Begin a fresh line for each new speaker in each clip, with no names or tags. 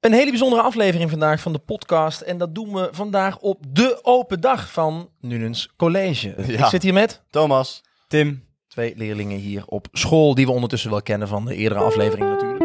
Een hele bijzondere aflevering vandaag van de podcast. En dat doen we vandaag op de open dag van Nunens College.
Ja.
Ik zit hier met
Thomas, Tim.
twee leerlingen hier op school, die we ondertussen wel kennen van de eerdere aflevering natuurlijk.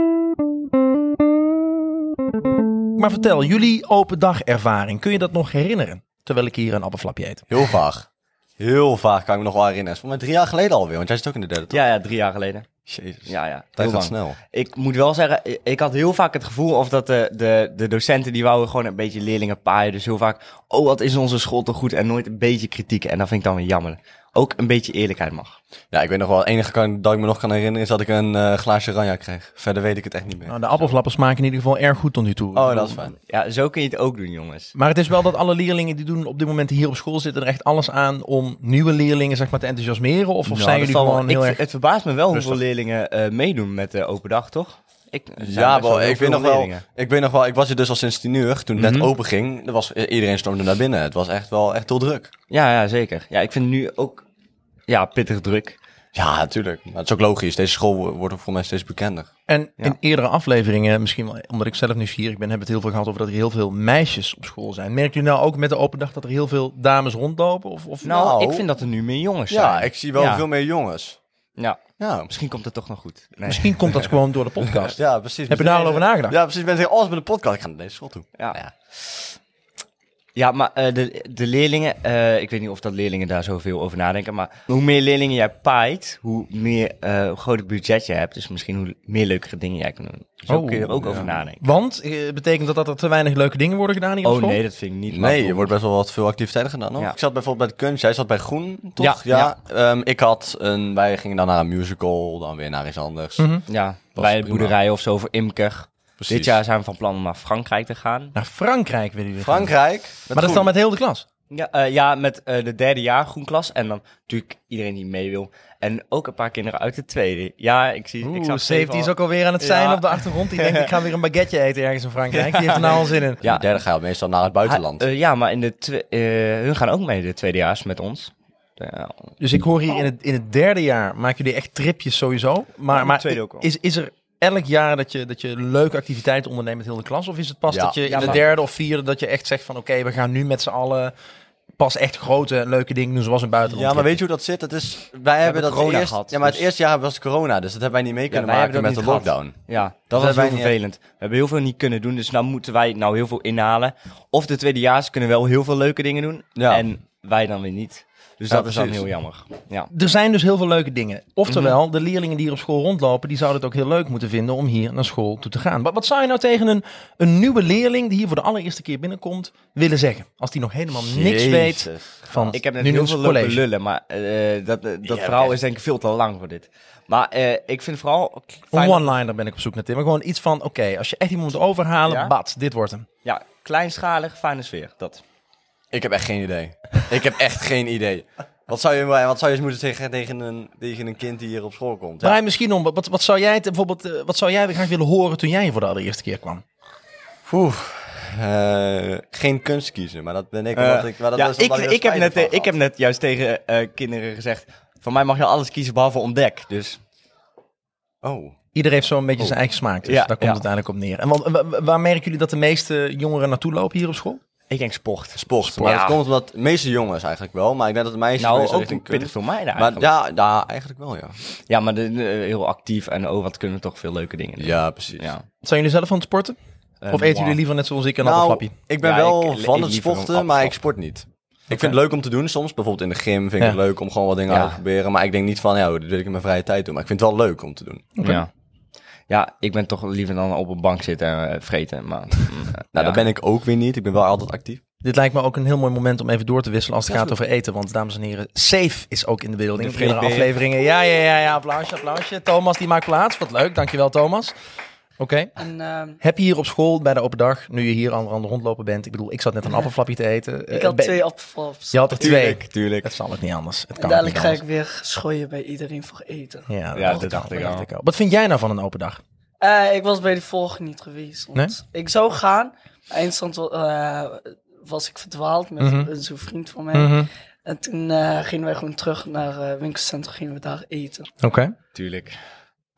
Maar vertel, jullie open dag ervaring, kun je dat nog herinneren? Terwijl ik hier een appelflapje eet.
Heel vaag. Heel vaag kan ik me nog wel herinneren. Voor mij drie jaar geleden alweer, want jij zit ook in de derde, toch?
Ja, ja, drie jaar geleden.
Jezus.
Ja, ja.
Tijd
heel
gaat
lang.
snel.
Ik moet wel zeggen, i- ik had heel vaak het gevoel of dat de, de, de docenten die wouden gewoon een beetje leerlingen paaien. Dus heel vaak, oh wat is onze school toch goed en nooit een beetje kritiek. En dat vind ik dan weer jammer. Ook een beetje eerlijkheid mag.
Ja, ik weet nog wel, het enige kan, dat ik me nog kan herinneren is dat ik een eh, glaasje ranja kreeg. Verder weet ik het echt niet meer.
Nou, de appelflappen smaken in ieder geval erg goed tot nu toe.
Oh, dat is fijn.
Ja, zo kun je het ook doen jongens.
Maar het is wel dat alle leerlingen die doen op dit moment die hier op school zitten er echt alles aan om nieuwe leerlingen zeg maar te enthousiasmeren? Of, of
Nou,
zijn
dat
jullie
valt wel-
gewoon heel
ik,
erg...
Het verbaast me wel
rustig?
hoeveel leerlingen eh, meedoen met de open dag, toch? Ik, er zijn
Ja,
best wel
wel,
heel
ik, weet
veel
nog wel,
leerlingen.
ik weet nog wel, ik was er dus al sinds tien uur, toen het
Mhm.
net open ging. Er was, iedereen stormde naar binnen. Het was echt wel echt heel druk.
Ja, ja, zeker. Ja, ik vind het nu ook ja, pittig druk.
Ja, natuurlijk. Maar het is ook logisch. Deze school wo- wordt ook voor mij steeds bekender.
En
Ja.
in eerdere afleveringen, misschien wel omdat ik zelf nieuwsgierig ben, hebben we het heel veel gehad over dat er heel veel meisjes op school zijn. Merkt u nou ook met de open dag dat er heel veel dames rondlopen? Of, of...
Nou,
Nou.
ik vind dat er nu meer jongens zijn.
Ja, ik zie wel
Ja.
veel meer jongens.
Ja,
Ja,
misschien komt het toch nog goed. Nee.
Misschien komt dat gewoon door de podcast.
ja precies.
Heb je daar al over nagedacht?
Ja, precies. Mensen zeggen oh, alles met de podcast. Ik ga naar deze school toe.
Ja. ja. maar eh, de, de leerlingen, eh, ik weet niet of dat leerlingen daar zoveel over nadenken, maar hoe meer leerlingen jij paait, hoe meer eh, hoe groter budget je hebt, dus misschien hoe meer leukere dingen jij kan doen. Dus Zo
Oh,
kun je er ook
ja.
over nadenken.
Want eh, betekent dat dat er te weinig leuke dingen worden gedaan hier op
Oh
school?
nee, dat vind ik niet.
Nee,
maar-
er wordt best wel wat veel activiteiten gedaan. Hoor.
Ja.
Ik zat bijvoorbeeld bij de kunst, jij zat bij groen, toch?
Ja,
Ehm, ik had een, wij gingen dan naar een musical, dan weer naar iets anders.
Mhm.
Ja,
was
bij de
prima.
boerderijen of zo voor Imker.
Precies.
Dit jaar zijn we van plan om naar Frankrijk te gaan.
Naar Frankrijk willen jullie. gaan.
Frankrijk.
Maar dat is dan met heel de klas?
Ja, eh, ja met eh, de derde jaar groenklas en dan natuurlijk iedereen die mee wil. En ook een paar kinderen uit de tweede. Ja, ik zie... ik
Oeh,
zag
safety
zeven
is
al-
ook alweer aan het zijn
Ja.
op de achtergrond. Die denkt, ik ga weer een baguette eten ergens in Frankrijk. Die heeft er nou al zin in.
Ja. Derde ga je meestal naar het buitenland.
Ha- eh, ja, maar in de twe- eh, hun gaan ook mee, de tweedejaars, met ons. Ja.
Dus ik hoor hier in het, in het derde jaar maken jullie echt tripjes sowieso. Maar,
het
maar
tweede ook wel.
Is, is er elk jaar dat je, dat je leuke activiteiten onderneemt met heel de klas? Of is het pas
Ja.
dat je in
Ja,
de
maar-
derde of vierde dat je echt zegt van oké, we gaan nu met z'n allen pas echt grote leuke dingen doen zoals een buitenland.
ja, maar weet je hoe dat zit? Dat is, wij hebben dat
eh, corona
eerst,
gehad,
Ja, maar het
dus-
eerste jaar was corona, dus dat hebben wij niet mee kunnen
wij
maken
hebben
met
dat
de
niet gehad.
lockdown.
Ja, dat,
hebben
was
wij
heel
niet-
vervelend. We hebben heel veel niet kunnen doen, dus nou moeten wij nou heel veel inhalen. Of de tweedejaars kunnen wel heel veel leuke dingen doen,
Ja.
en wij dan weer niet. Dus
Ja,
dat is dan
precies.
heel jammer. Ja.
Er zijn dus heel veel leuke dingen. Oftewel,
Mhm.
de leerlingen die hier op school rondlopen, die zouden het ook heel leuk moeten vinden om hier naar school toe te gaan. Wat, wat zou je nou tegen een, een nieuwe leerling die hier voor de allereerste keer binnenkomt willen zeggen? Als die nog helemaal niks weet van
Ik heb net
nu
heel
ons
veel lopen
college.
lullen, maar eh, dat, eh, dat
Ja,
verhaal
echt.
is denk ik veel te lang voor dit. Maar eh, ik vind vooral...
Een
fijn dat-
one-liner ben ik op zoek naar Tim. Maar gewoon iets van, oké, als je echt iemand moet overhalen,
Ja?
bad, dit wordt hem.
Ja, kleinschalig, fijne sfeer, dat.
Ik heb echt geen idee. ik heb echt geen idee. Wat zou je, wat zou je eens moeten zeggen tegen een, tegen een kind die hier op school komt? Ja.
Draai misschien om, wat, wat zou jij het- bijvoorbeeld, eh, wat zou jij graag willen horen toen jij voor de allereerste keer kwam?
Oeh, eh, geen kunst kiezen, maar dat ben ik.
Eh,
omdat ik, maar dat
ja,
is
ik,
omdat er
ik, heb
spijt
net,
van
eh, ik
gehad.
heb net juist tegen eh, kinderen gezegd... van mij mag je alles kiezen behalve ontdek. Dus
Oh.
Ieder heeft zo'n beetje zijn eigen smaak, dus
Ja,
daar komt
ja.
het uiteindelijk op neer. En wat- wa- wa- waar merken jullie dat de meeste jongeren naartoe lopen hier op school?
ik denk sport.
Sport. Maar
Ja.
dat komt omdat de meeste jongens eigenlijk wel, maar ik denk dat de meisjes
Nou,
meestal
ook
richting
pittig voor mij daar
Maar
eigenlijk.
ja, ja, eigenlijk wel, ja.
ja. maar de, de- heel actief en oh, wat kunnen we toch veel leuke dingen doen.
Ja, precies.
Ja.
Zijn jullie zelf aan het sporten?
Eh,
Of eten
moi.
jullie liever net zoals ik een
Nou,
appelflapje?
ik ben
Ja,
wel
ik- ik
van het
liever een
sporten, maar ik
appelflap.
sport niet. Ik vind het leuk om te doen soms. Bijvoorbeeld in de gym vind ik
Ja.
het leuk om gewoon wat dingen
Ja.
uit te proberen. Maar ik denk niet van, ja, dat wil ik in mijn vrije tijd doen. Maar ik vind het wel leuk om te doen.
Ja. ja, ik ben toch liever dan op een bank zitten en eh, vreten. Maar, mm, eh,
Nou,
ja.
dat ben ik ook weer niet. Ik ben wel altijd actief.
Dit lijkt me ook een heel mooi moment om even door te wisselen als het
Ja,
gaat
is
over eten. Want dames en heren, Safe is ook in de beelding.
De
De eerdere
vreedbeer.
afleveringen. Ja, ja, ja, ja, applausje, applausje. Thomas die maakt plaats. Wat leuk, dankjewel Thomas. Oké.
En, ehm,
Heb je hier op school bij de open dag, nu je hier aan aan de rondlopen bent, ik bedoel, ik zat net een appelflapje te eten.
ik
Eh,
had
ben-
twee appelflaps.
Je had er twee.
Tuurlijk, tuurlijk.
Dat zal ook niet anders. Het
En
kan
dadelijk
ook
ga
niet
ik weer schooien bij iedereen voor eten.
anders. Ja,
Ja,
dat,
dat
dacht,
dacht
ik
ik al.
al. Wat vind jij nou van een open dag?
Eh, ik was bij de vorige niet geweest. Want Ik zou gaan. Eindstand eh, was ik verdwaald met
Mhm.
eh, zo'n vriend van mij. En toen eh, gingen wij gewoon terug naar eh winkelcentrum. Gingen we daar eten.
Oké.
Tuurlijk.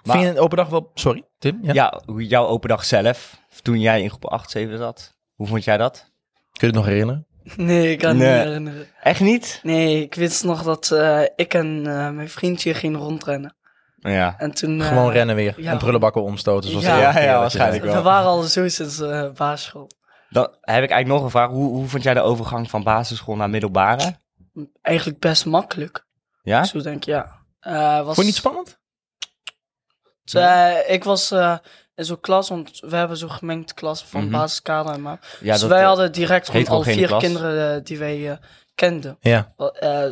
Maar-
Vind je een open dag wel... Sorry, Tim? Ja.
Ja, hoe jouw open dag zelf, toen jij in groep 8, 7 zat. Hoe vond jij dat?
Kun je het nog herinneren?
Nee, ik kan
Nee.
me niet herinneren.
Echt niet?
Nee, ik wist nog dat eh, ik en eh, mijn vriendje gingen rondrennen.
Ja.
En toen... eh,
Gewoon rennen weer.
ja.
En prullenbakken omstoten. Zoals de
Ja.
vorige
Ja, ja,
keer dat je
waarschijnlijk.
zei.
wel.
We waren al zo sinds eh basisschool.
Dan heb ik eigenlijk nog een vraag. Hoe, hoe vond jij de overgang van basisschool naar middelbare?
Eigenlijk best makkelijk.
Ja?
Zo denk ik, ja. Eh, was,
Vond je niet spannend?
Eh, ik was eh, in zo'n klas, want we hebben zo'n gemengd klas van
Mhm.
basiskader en maat.
Ja,
dus wij
eh,
hadden direct gewoon al
heterogene
vier
klas.
kinderen eh, die wij eh, kenden.
Ja.
Wel, eh, eh,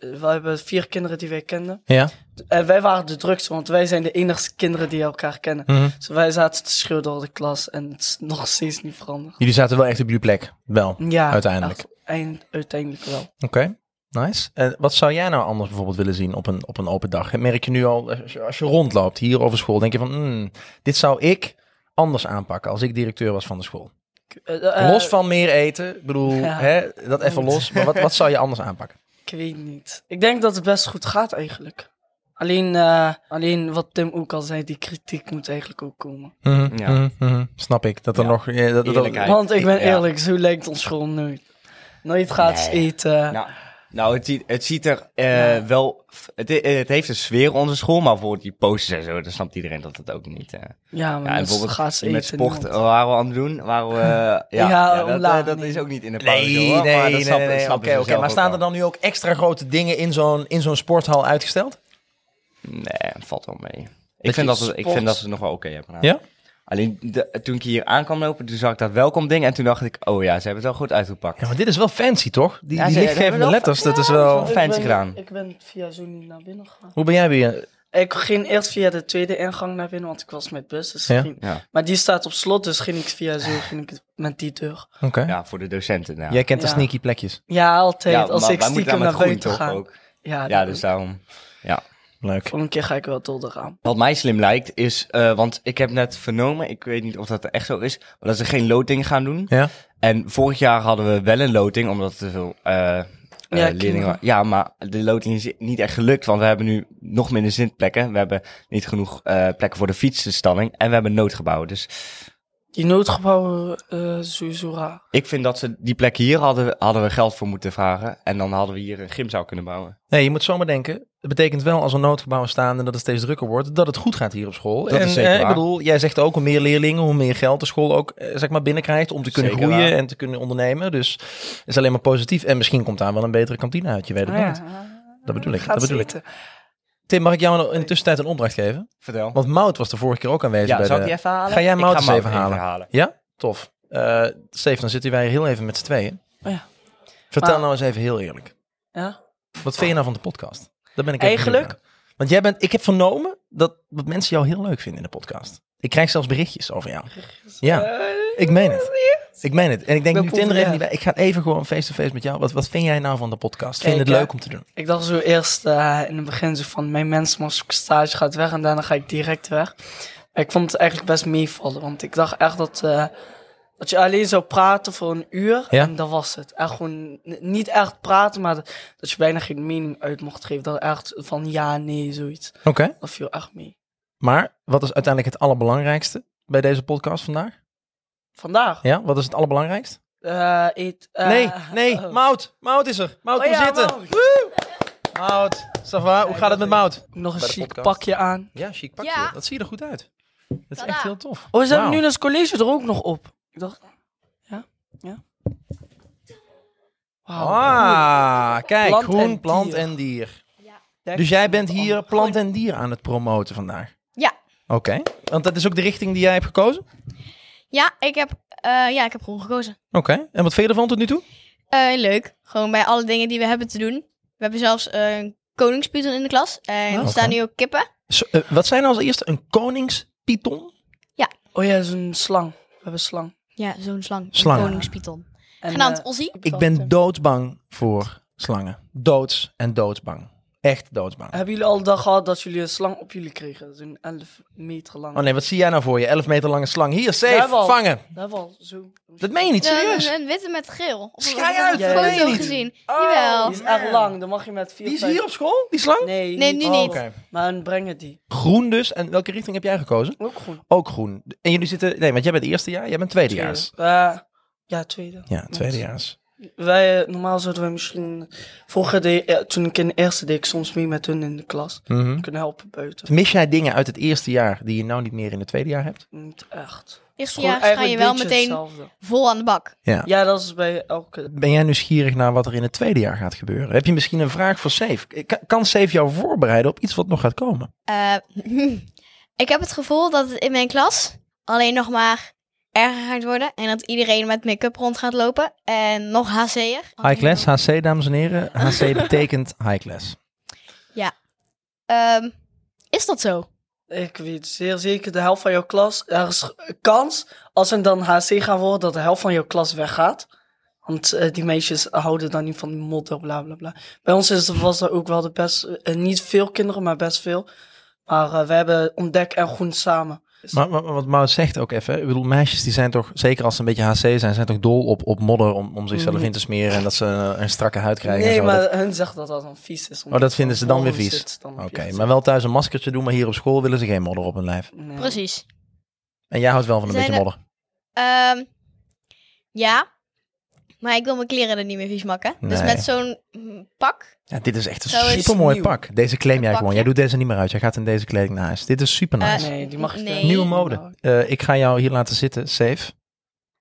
we hebben vier kinderen die wij kenden.
Ja.
En wij waren de drukste, want wij zijn de enigste kinderen die elkaar kennen.
Mhm.
Dus wij zaten te schreeuwen door de klas en het is nog steeds niet veranderd.
Jullie zaten wel echt op jullie plek. Wel.
Ja,
Uiteindelijk.
echt, eind- uiteindelijk wel.
Oké, nice. En wat zou jij nou anders bijvoorbeeld willen zien op een, op een open dag? Merk je nu al, als je, als je rondloopt hier over school, denk je van, hmm, dit zou ik anders aanpakken als ik directeur was van de school.
Eh, eh,
los van meer eten, ik bedoel,
ja.
hè, dat even los. Maar wat, wat zou je anders aanpakken?
Ik weet niet. Ik denk dat het best goed gaat eigenlijk. Alleen, eh, alleen wat Tim ook al zei, die kritiek moet eigenlijk ook komen.
Mhm, Ja.
Mhm, Snap ik. Dat er
Ja.
nog... eh, dat- dat,
Eerlijkheid.
Want ik ben
ja.
eerlijk, zo lijkt ons school nooit. Nooit gaat
Nee.
eten.
Nou, nou het, ziet, het ziet er eh, wel... Het, eh, het heeft een sfeer onze school, maar bijvoorbeeld die posters en zo, dan snapt iedereen dat het ook niet... eh.
ja, maar
Ja, en
mensen
bijvoorbeeld
gaat eten.
met sport
niemand.
eh, waren we aan het doen, waren we... eh, ja,
Ja,
ja, dat,
omlaag,
eh, dat
nee.
is ook niet in de pauze,
Nee, nee,
hoor, maar
nee,
dat
nee,
snappen-
nee.
snappen
Oké,
ze
oké,
zelf
maar
ook
staan er
wel.
dan nu ook extra grote dingen in zo'n, in zo'n sporthal uitgesteld?
Nee, valt wel mee.
je
Ik vind, dat we, ik
sport-
vind dat ze het nog wel oké hebben gedaan.
Ja?
Alleen de- toen ik hier aan kwam lopen, toen zag ik dat welkom ding. En toen dacht ik, oh ja, ze hebben het wel goed uitgepakt.
Ja, maar dit is wel fancy, toch? Die,
Ja,
die
ze- ze
lichtgevende
hebben wel-
letters, dat is
wel
wel...
Ik
oh, fancy
ben-
gedaan.
Ik ben via zo niet naar binnen gegaan.
Hoe ben jij weer?
Ik ging eerst via de tweede ingang naar binnen, want ik was met bus. Dus
Ja.
ging-
Ja.
Maar die staat op slot, dus ging ik via zo ging ik met die deur.
Oké.
Ja, voor de docenten. nou. Ja,
Jij kent de
Ja.
sneaky plekjes.
Ja, altijd.
Ja,
als
maar
ik
wij moeten
stiekem
daar
naar
met groen
buiten
toch
ga.
ook.
Ja,
Ja,
dat-
dus daarom.
Leuk.
Volgende keer ga ik wel door de raam.
Wat mij slim lijkt is, eh, want ik heb net vernomen, ik weet niet of dat echt zo is, maar dat ze geen loting gaan doen.
Ja.
En vorig jaar hadden we wel een loting, omdat er veel eh eh, leerlingen
kinderen.
waren. Ja, maar de loting is niet echt gelukt, want we hebben nu nog minder zitplekken. We hebben niet genoeg eh, plekken voor de fietsenstalling en we hebben noodgebouwen. Dus
Die noodgebouwen, eh sowieso raar.
ik vind dat ze die plekken hier hadden, hadden we geld voor moeten vragen. En dan hadden we hier een gymzaal kunnen bouwen.
Nee, je moet zomaar denken. Het betekent wel als er noodgebouwen staan en dat het steeds drukker wordt, dat het goed gaat hier op school.
Dat is
en,
zeker
eh, Ik
waar.
bedoel, jij zegt ook hoe meer leerlingen, hoe meer geld de school ook eh, zeg maar binnenkrijgt om te kunnen
Zeker
groeien
waar.
en te kunnen ondernemen. Dus het is alleen maar positief. En misschien komt daar wel een betere kantine uit. Je weet
Oh
het niet. Dat bedoel ik. Dat bedoel ik. Tim, mag ik jou in de tussentijd een opdracht geven?
Vertel.
Want Mout was de vorige keer ook aanwezig.
ja,
bij
zal ik
de-
die even halen?
Ga jij
Ik
Mout eens
Mout
even halen. Ja? Tof. Eh Steven, dan zitten wij heel even met z'n tweeën.
Oh ja.
Vertel
Maar-
nou eens even heel eerlijk.
Ja?
Wat vind je nou van de podcast? Daar ben ik even
Eigenlijk-
benieuwd naar. Want jij bent, ik heb vernomen dat, dat mensen jou heel leuk vinden in de podcast. Ik krijg zelfs berichtjes over jou.
Oh,
Ja, ik meen het. Ik meen het. En ik denk
Dat
nu
komt
Tinder
er
even niet bij. Ik ga even gewoon face-to-face met jou. Wat, wat vind jij nou van de podcast? Vind je
Kijk,
het
hè.
leuk om te doen?
Ik dacht zo eerst eh, in het begin zo van mijn mensenmasterstage gaat weg en daarna ga ik direct weg. Maar ik vond het eigenlijk best meevallen, want ik dacht echt dat, eh, dat je alleen zou praten voor een uur
Ja.
en dat was het. Echt gewoon n- niet echt praten, maar dat, dat je bijna geen mening uit mocht geven. Dat echt van ja, nee, zoiets.
Oké.
Dat viel echt mee.
Maar wat is uiteindelijk het allerbelangrijkste bij deze podcast vandaag?
Vandaag.
Ja, wat is het allerbelangrijkst?
eh, eet, eh,
nee, nee,
oh.
Mout. Mout is er. Mout,
Oh
kom
ja,
zitten.
Mout.
Mout, Sava, hoe gaat het met Mout?
Nog
Bij
een
de
chic
podcast.
pakje aan.
Ja, chic pakje.
Ja.
Dat zie je er goed uit. Dat is
Tada.
echt heel tof.
Oh, ze hebben
Wauw.
nu het college er ook nog op. Ik dacht, ja, ja. Wauw.
Ah, kijk,
Plant
groen,
en
plant
dier.
en dier.
Kijk,
Dus jij bent
wat
hier
Oh.
anders.
plant en dier aan het promoten vandaag?
Ja.
Oké, want dat is ook de richting die jij hebt gekozen?
Ja, ik heb, eh, ja, ik heb groen gekozen.
Oké, en wat vind je ervan tot nu toe?
Eh, leuk. Gewoon bij alle dingen die we hebben te doen. We hebben zelfs eh, een koningspython in de klas. En
Oh.
er staan nu ook kippen.
Zo, eh, wat zijn als eerste een koningspython?
Oh ja, zo'n slang. We hebben slang.
Ja, zo'n slang. Een
Slangen.
koningspython.
En,
Genaamd
eh,
Ozzy.
Ik ben doodsbang voor slangen. Doods en doodsbang. echt doodsbang.
Hebben jullie al de dag gehad dat jullie een slang op jullie kregen? Zo'n 11 meter lang.
Oh nee, wat zie jij nou voor je? 11 meter lange slang. Hier, safe,
Ja, wel.
vangen.
Dat was zo.
Dat meen je niet, serieus?
Een, een witte met geel. Of
Schei
ik heb
uit,
een
dat meen
foto
je niet.
gezien.
Die
Jawel.
Oh,
is echt lang, dan mag je met vier.
Die is
vijf-
hier op school, die slang?
Nee,
Nee,
niet
nu
alles.
niet.
Oké.
Maar dan brengen die.
Groen dus. En welke richting heb jij gekozen?
Ook groen.
Ook groen. En jullie zitten... Nee, want jij bent eerste jaar, jij bent tweedejaars.
Tweede. Eh, ja, tweede.
Ja, tweedejaars.
Wij, eh, normaal zouden wij misschien... Vroeger, deed, eh, toen ik in de eerste deed, ik soms mee met hun in de klas.
Mhm.
Kunnen helpen buiten.
Mis jij dingen uit het eerste jaar die je nou niet meer in het tweede jaar hebt?
Niet echt.
Eerste
Gewoon
jaar ga je
eigenlijk
wel
deed
meteen
hetzelfde.
vol aan de bak.
Ja.
Ja, dat is bij elke...
Ben jij nieuwsgierig naar wat er in het tweede jaar gaat gebeuren? Heb je misschien een vraag voor Safe? Kan, kan Safe jou voorbereiden op iets wat nog gaat komen?
Eh, ik heb het gevoel dat het in mijn klas alleen nog maar erger gaat worden. En dat iedereen met make-up rond gaat lopen. En nog HC'er.
High class, HC, dames en heren. HC betekent high class.
Ehm, is dat zo?
Ik weet zeer zeker, de helft van jouw klas... Er is een kans, als ze dan HC gaan worden, dat de helft van jouw klas weggaat. Want eh, die meisjes houden dan niet van die modder, bla bla bla. Bij ons is, was dat ook wel de best... eh, niet veel kinderen, maar best veel. Maar eh, we hebben ontdek en groen samen.
Maar, maar- maar wat Maus zegt ook even, ik bedoel, meisjes die zijn toch, zeker als ze een beetje HC zijn, zijn toch dol op, op modder om, om zichzelf in te smeren en dat ze een, een strakke huid krijgen. en
nee,
zo.
maar
Dat-
hun zegt dat dat dan vies is.
oh, dat vinden ze dan weer vies. Oké, maar wel thuis een maskertje doen, maar hier op school willen ze geen modder op hun lijf.
Precies.
En jij houdt wel van een
Zijn
beetje
er-
modder.
Ehm, ja. Maar ik wil mijn kleren er niet meer vies maken. Dus
Nee.
met zo'n mm, pak.
Ja, dit is echt een
Zo is het
supermooi
nieuw.
pak. Deze claim jij
Een
gewoon. Jij
pakje.
doet deze niet meer uit. Jij gaat in deze kleding naar huis. Dit is super nice.
Eh,
Nee, die mag Nou, je
nee.
Nieuwe mode. Eh, ik ga jou hier laten zitten, safe.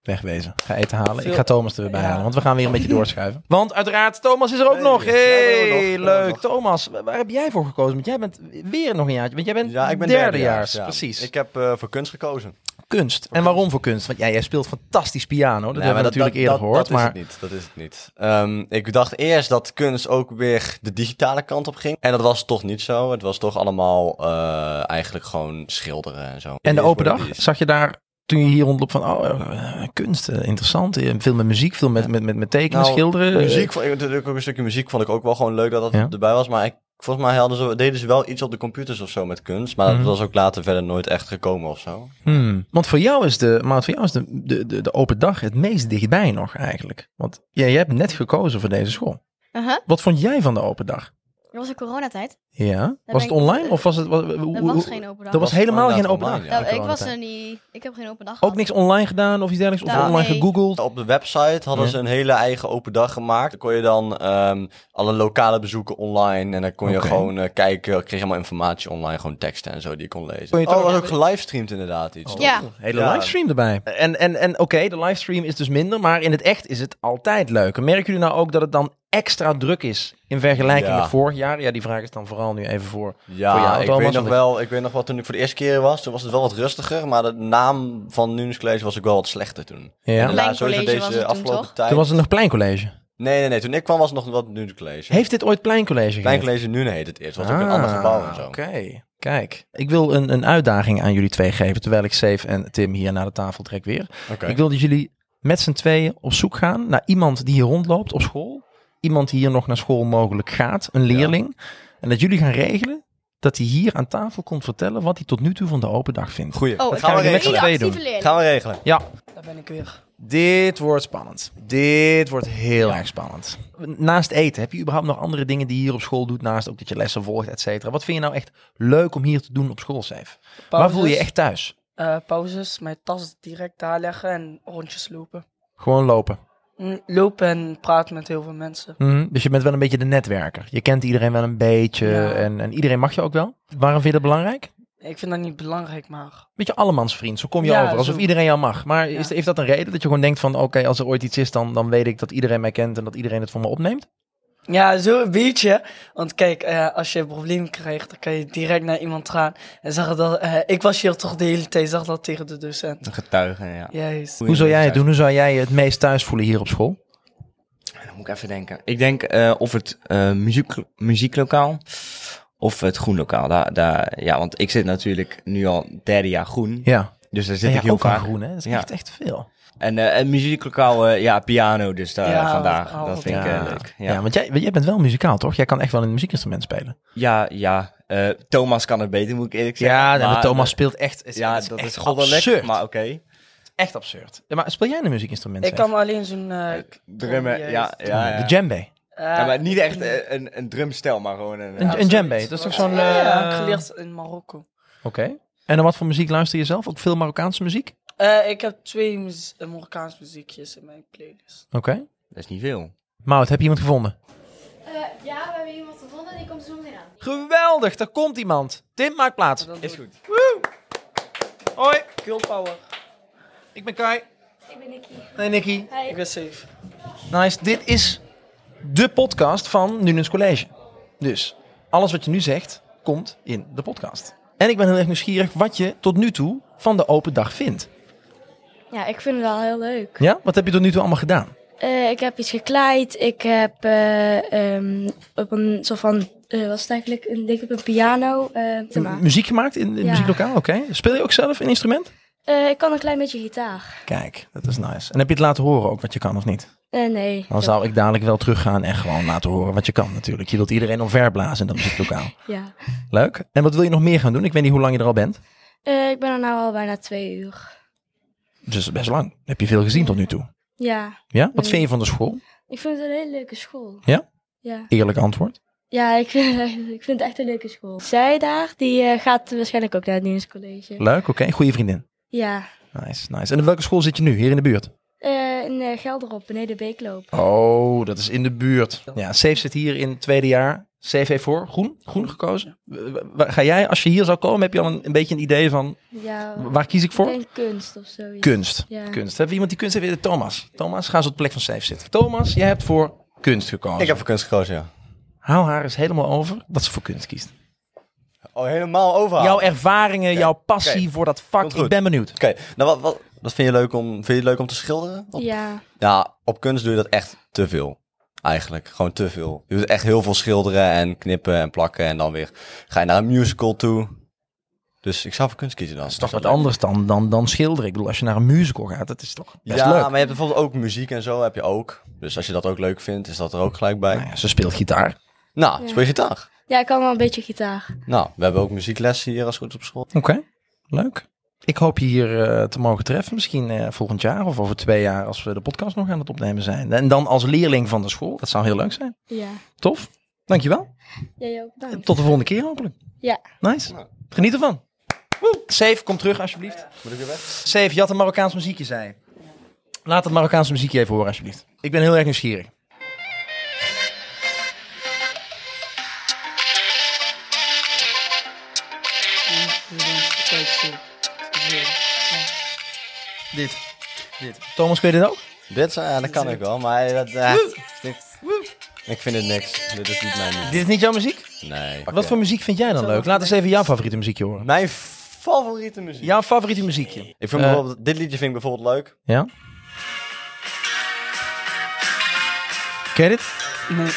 Wegwezen. Ga eten halen. Ik
Veel-
ga Thomas er weer bij
Ja.
halen, want we gaan weer een beetje doorschuiven. Want uiteraard, Thomas is er ook
Hey.
nog. Hey,
Ja, we hebben nog. We hebben
leuk.
nog.
Thomas, wa- waar heb jij voor gekozen? Want jij bent weer nog een jaartje. Want jij bent
Ja, ik ben
derdejaars.
derdejaars, ja.
Precies.
Ik heb eh, voor kunst gekozen.
kunst. En waarom voor kunst? Want ja, jij speelt fantastisch piano. Dat
Nee,
hebben we
maar
natuurlijk eerder
dat-
gehoord.
Dat is
maar
het niet. Dat is het niet. Ehm, ik dacht eerst dat kunst ook weer de digitale kant op ging. En dat was toch niet zo. Het was toch allemaal eh, eigenlijk gewoon schilderen en zo.
En de
Is
open
wat het
dag,
is.
zag je daar toen je hier rondloopt van, oh, eh, kunst, eh, interessant. eh, Veel met muziek, veel met, met, met, met tekenen,
Nou,
schilderen. eh,
Muziek, vond ik natuurlijk ook een stukje muziek vond ik ook wel gewoon leuk dat dat
Ja.
erbij was. Maar ik, volgens mij hadden ze, deden ze wel iets op de computers of zo met kunst. Maar
Mhm.
dat was ook later verder nooit echt gekomen of zo.
hmm. Want voor jou is, de, maar voor jou is de, de, de, de open dag het meest dichtbij nog eigenlijk. Want jij jij hebt net gekozen voor deze school.
Uh-huh.
Wat vond jij van de open dag?
Dat was de coronatijd.
Ja, was het
denk ik-
online of was het... wa- hoe-
Dat
hoe-
was geen open dag.
Er was
Was
helemaal geen
inderdaad
open dag.
online, ja.
Nou, ik was er
coronatijd.
niet. Ik heb geen open dag
Ook
gehad.
niks online gedaan of iets dergelijks? Of
Nou,
online
nee.
gegoogeld?
Op de website hadden
Ja.
ze een hele eigen open dag gemaakt. Dan kon je dan ehm, alle lokale bezoeken online. En dan kon je
Oké.
gewoon eh, kijken. Ik kreeg helemaal informatie online. Gewoon teksten en zo die je kon lezen.
Kon je het
oh,
ook-
was ook gelivestreamd inderdaad iets. toch?
Oh. Ja.
Hele
Ja.
livestream erbij. En, en, en oké, de livestream is dus minder, maar in het echt is het altijd leuk. En Merken jullie nou ook dat het dan extra druk is in vergelijking
Ja.
met vorig jaar? Ja, die vraag is dan vooral nu even voor.
Ja,
Voor jou,
ik,
Thomas,
weet nog
want-
wel, ik weet nog wel, toen ik voor de eerste keer was, toen was het wel wat rustiger. Maar de naam van Nunes College was ook wel wat slechter toen.
Ja.
En daarna
Mijn
sowieso
college was het
deze
toen,
afgelopen
toch?
tijd.
Toen was het nog Pleincollege.
Nee, nee, nee. Toen ik kwam was het nog wat Nunes College.
Heeft dit ooit Pleincollege
Klein
geheten?
College Nune heet het eerst. Was ook een ander gebouw en zo.
Ah, Oké, kijk. Ik wil een, een uitdaging aan jullie twee geven, terwijl ik Safe en Tim hier naar de tafel trek weer.
Oké.
Ik wil dat jullie met z'n tweeën op zoek gaan naar iemand die hier rondloopt op school. Iemand die hier nog naar school mogelijk gaat, een leerling. En dat jullie gaan regelen dat hij hier aan tafel komt vertellen wat hij tot nu toe van de open dag vindt.
Goeie.
Oh,
dat
ik
gaan we
heb
met
een
z'n
hele
regelen.
tweeën
actieve
doen.
leerling.
Gaan we regelen.
Ja,
Daar ben ik weer.
dit wordt spannend. Dit wordt heel erg spannend. Naast eten, heb je überhaupt nog andere dingen die je hier op school doet? Naast ook dat je lessen volgt, et cetera. Wat vind je nou echt leuk om hier te doen op school, Saif? Waar voel je je echt thuis?
Eh, pauzes, mijn tas direct daar leggen en rondjes lopen.
Gewoon lopen.
Mm, Lopen en praten met heel veel mensen.
Mhm, Dus je bent wel een beetje de netwerker. Je kent iedereen wel een beetje
Ja.
en, en iedereen mag je ook wel. Waarom vind je dat belangrijk?
Ik vind dat niet belangrijk, maar...
beetje allemansvriend. Zo kom je
Ja,
over. Alsof
zo.
iedereen jou mag. Maar is,
Ja.
heeft dat een reden? Dat je gewoon denkt van... Oké, als er ooit iets is, dan, dan weet ik dat iedereen mij kent... en dat iedereen het voor me opneemt?
Ja, zo een beetje. Want kijk, eh, als je een probleem krijgt, dan kan je direct naar iemand gaan en zeggen dat... eh, ik was hier toch de hele tijd, zeg dat tegen de docent.
Getuigen, ja.
Juist.
Hoe zou jij het doen? Hoe zou jij je het meest thuis voelen hier op school?
Dan moet ik even denken. Ik denk eh, of het eh, muziek, muzieklokaal of het groenlokaal. Daar, daar, ja, want ik zit natuurlijk nu al derde jaar groen.
Ja.
Dus daar zit
Ja,
ik heel
ook aan
vaak.
groen, hè? Dat is
Ja.
echt, echt veel.
En, eh en muzieklokaal, eh, ja, piano dus daar
Ja,
vandaag.
oh,
dat vind ik
ja.
eh, leuk.
Ja,
Ja, ja,
want jij, want jij bent wel muzikaal, toch? Jij kan echt wel een muziekinstrument spelen.
ja. eh, Thomas kan het beter, moet ik eerlijk zeggen.
Ja, nee, maar
Maar,
Thomas
eh,
speelt echt... is-
ja,
het
dat
echt
is goddelijk,
absurd.
maar oké.
Echt absurd. Ja, maar speel jij een muziekinstrument?
Ik
Sef?
kan alleen zo'n... eh,
Drummen, ja,
juist.
ja, ja.
De djembe.
Eh,
Ja, maar niet echt eh, een, een drumstel, maar gewoon een...
Een, een djembe, dat is toch zo'n...
Ja, ja,
eh,
geleerd in Marokko.
Oké. En dan wat voor muziek luister je zelf? Ook veel Marokkaanse muziek?
Eh, ik heb twee muz- eh, Marokkaans muziekjes in mijn playlist.
Oké.
Dat is niet veel.
Maud, heb je iemand gevonden?
Eh, ja, we hebben iemand gevonden, die komt zo meteen aan.
Geweldig, daar komt iemand. Tim, maak plaats.
Dan doe
goed.
ik- Hoi! Girl power.
Ik ben Kai.
Ik ben Nicky.
Hey Nicky.
Ik ben safe.
Nice. Dit is de podcast van Nunens College. Dus alles wat je nu zegt, komt in de podcast. En ik ben heel erg nieuwsgierig wat je tot nu toe van de open dag vindt.
Ja, ik vind het wel heel leuk.
Ja? Wat heb je tot nu toe allemaal gedaan?
Eh, ik heb iets gekleid. Ik heb eh, ehm, op een soort van, eh was het eigenlijk, een dik op een piano. eh, te
M-
maken.
Muziek gemaakt in het
Ja.
muzieklokaal, oké. Speel je ook zelf een instrument?
Eh, ik kan een klein beetje gitaar.
Kijk, dat is nice. En heb je het laten horen ook wat je kan of niet?
Eh, nee.
Dan zou ik dadelijk wel teruggaan en gewoon laten horen wat je kan natuurlijk. Je wilt iedereen omverblazen in dat muzieklokaal.
Ja.
Leuk. En wat wil je nog meer gaan doen? Ik weet niet hoe lang je er al bent.
Eh, ik ben er nou al bijna twee uur.
Dus best lang. Heb je veel gezien tot nu toe?
Ja.
Ja? Wat vind je van de school?
Ik vind het een hele leuke school.
Ja?
Ja.
Eerlijk antwoord.
Ja, ik vind, het echt- ik vind het echt een leuke school. Zij daar, die eh, gaat waarschijnlijk ook naar het dienstcollege.
Leuk, oké. Goede vriendin.
Ja.
Nice, nice. En in welke school zit je nu? Hier in de buurt?
Eh in eh, Gelderop, beneden Beekloop.
Oh, dat is in de buurt. Ja, Safe zit hier in het tweede jaar. CV voor, groen. Groen gekozen. W- w- waar Ga jij, als je hier zou komen, heb je al een, een beetje een idee van
Ja.
waar kies ik voor?
Ik denk kunst of zoiets.
Kunst.
Ja.
Kunst. Hebben we iemand die kunst heeft? Eh, Thomas. Thomas, ga eens op de plek van Safe zitten. Thomas, jij hebt voor kunst gekozen.
Ik heb voor kunst gekozen, ja.
Hou haar eens helemaal over dat ze voor kunst kiest.
Oh, helemaal overhaal.
Jouw ervaringen, jouw passie
Oké.
voor dat vak.
Komt goed.
Ik ben benieuwd.
Oké, nou wat, wat, wat vind je leuk om, vind je het leuk om te schilderen? Op-
Ja.
Ja, op kunst doe je dat echt te veel. Eigenlijk, gewoon te veel. Je doet echt heel veel schilderen en knippen en plakken en dan weer ga je naar een musical toe. Dus ik zou voor kunst kiezen dan.
Dat is toch wat anders dan, dan, dan schilderen. Ik bedoel, als je naar een musical gaat, dat is toch best
ja,
leuk.
maar je hebt bijvoorbeeld ook muziek en zo heb je ook. Dus als je dat ook leuk vindt, is dat er ook gelijk bij.
Nou ja, ze speelt gitaar.
Nou,
Ja.
speel je gitaar.
ja, ik kan wel een beetje gitaar.
Nou, we hebben ook muzieklessen hier als het goed is op school.
Oké, leuk. Ik hoop je hier eh, te mogen treffen. Misschien eh, volgend jaar of over twee jaar als we de podcast nog aan het opnemen zijn. En dan als leerling van de school. Dat zou heel leuk zijn.
Ja.
Tof. Dankjewel.
Jij ook, bedankt.
Tot de volgende keer hopelijk.
Ja.
Nice. Geniet ervan. Woe. Safe, kom terug alsjeblieft.
Moet ik weer weg?
Safe, je had een Marokkaans muziekje, zei je. Laat het Marokkaanse muziekje even horen alsjeblieft. Ik ben heel erg nieuwsgierig.
Kijk, zo.
Dit. Dit. Thomas, kun je dit ook?
Dit, eh, dat kan ik wel, maar dat... eh, ik vind het niks. Dit is niet mijn muziek.
Dit is niet jouw muziek?
Nee.
Wat voor muziek vind jij dan leuk? Laat eens even jouw favoriete muziekje horen.
Mijn favoriete muziek.
Jouw favoriete muziekje.
Ik vind
Eh,
bijvoorbeeld, dit liedje vind ik bijvoorbeeld leuk.
Ja? Ken je dit?
Nee.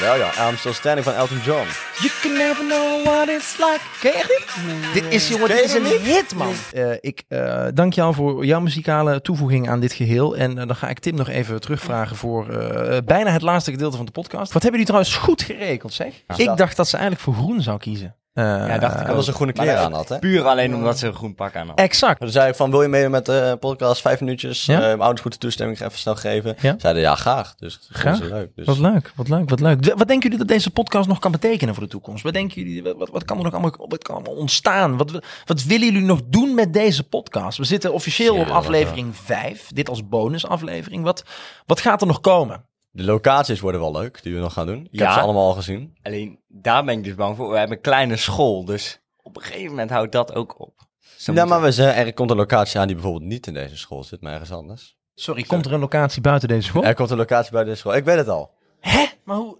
Wel ja, I'm Still Standing van Elton John.
You can never know what it's like. Ken je echt dit? Dit is, jongen,
Ken
dit
je
is
dit
een hit, man. Eh, ik eh, dank jou voor jouw muzikale toevoeging aan dit geheel. En eh, dan ga ik Tim nog even terugvragen voor eh, eh, bijna het laatste gedeelte van de podcast. Wat hebben jullie trouwens goed gerekeld, zeg? Ik dacht dat ze eigenlijk voor groen zou kiezen. Eh,
Ja, dacht ik
Dat
ook.
was een groene
Maar
kleren
dat-
aan had, hè?
Puur alleen omdat ze een groen pak aan had.
Exact.
Toen zei ik van, wil je meedoen met de podcast? Vijf minuutjes.
Ja.
Eh, mijn ouders moeten toestemming even snel geven.
Ja.
Zeiden ja, graag. Dus dat
Graag.
graag. leuk. Dus
Wat leuk, wat leuk, wat leuk. De- Wat denken jullie dat deze podcast nog kan betekenen voor de toekomst? Wat denken jullie, wat, wat- wat kan er nog allemaal, wat kan allemaal ontstaan? Wat, wat willen jullie nog doen met deze podcast? We zitten officieel op
Ja,
aflevering 5, dit als bonusaflevering. Wat, wat gaat er nog komen?
de locaties worden wel leuk, die we nog gaan doen. Ik heb
Ja.
ze allemaal al gezien.
Alleen daar ben ik dus bang voor. We hebben een kleine school, dus op een gegeven moment houdt dat ook op. Ze
Ja,
moeten-
Nou, maar we zeggen, er komt een locatie aan die bijvoorbeeld niet in deze school zit, maar ergens anders.
Sorry, komt er een locatie buiten deze school?
Er komt een locatie bij deze school. Ik weet het al.
Hè? Maar hoe...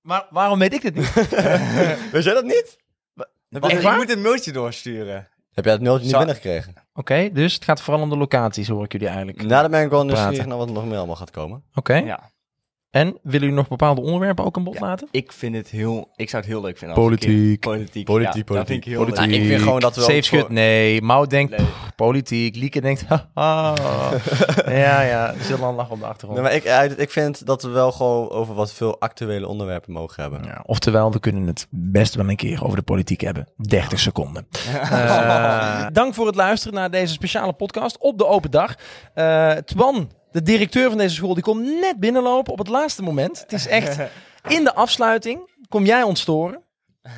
Maar waarom weet ik dit niet?
Weet jij dat niet?
Echt
Wacht, ik
waar?
moet een mailtje doorsturen.
Heb jij het mailtje niet
Zou-
binnengekregen?
Oké, dus het gaat vooral om de locaties, hoor ik jullie eigenlijk.
Nou, dan ben ik wel nieuwsgierig
Praten.
naar wat er nog meer allemaal gaat komen.
Oké,
Ja.
En willen jullie nog bepaalde onderwerpen ook aan bod
Ja.
laten?
Ik vind het heel... Ik zou het heel leuk vinden als ik een keer-
Politiek.
Politiek.
Politiek,
ja, Dat vind
politiek,
ik heel
politiek.
leuk.
Nou, ik vind gewoon dat we
Safe
ook voor-
schut, nee. Mouw denkt,
Nee.
pff, politiek. Lieke denkt, haha. ja, ja. Zillan lag op de achtergrond.
Nee, maar ik, eh, ik vind dat we wel gewoon over wat veel actuele onderwerpen mogen hebben.
Ja, oftewel, we kunnen het best wel een keer over de politiek hebben. 30 seconden. Eh, dank voor het luisteren naar deze speciale podcast op de open dag. Eh, Twan, de directeur van deze school, die komt net binnenlopen op het laatste moment. Het is echt in de afsluiting. Kom jij ons storen?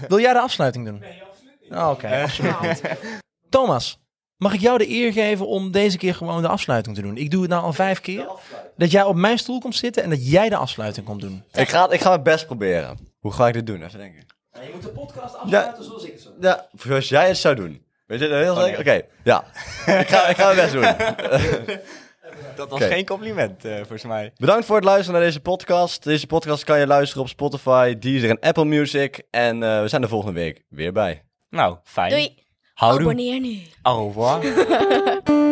Wil jij de afsluiting doen? Nee, absoluut niet. Oké, absoluut niet. Thomas, mag ik jou de eer geven om deze keer gewoon de afsluiting te doen? Ik doe het nou al vijf keer. Dat jij op mijn stoel komt zitten en dat jij de afsluiting komt doen.
Ik, ga, ik ga mijn best proberen. Hoe ga ik dit doen? Even denken.
Je moet de podcast
afsluiten
zoals ik het zo
Ja, zoals jij het zou doen. Weet je dat heel zeker? Oké, ja. ik, ga, ik ga mijn best doen.
Dat was
Oké.
geen compliment, eh, volgens mij.
Bedankt voor het luisteren naar deze podcast. Deze podcast kan je luisteren op Spotify, Deezer en Apple Music. En eh, we zijn er volgende week weer bij.
Nou, fijn.
Doei.
Houdoe.
Abonneer nu.
Au revoir.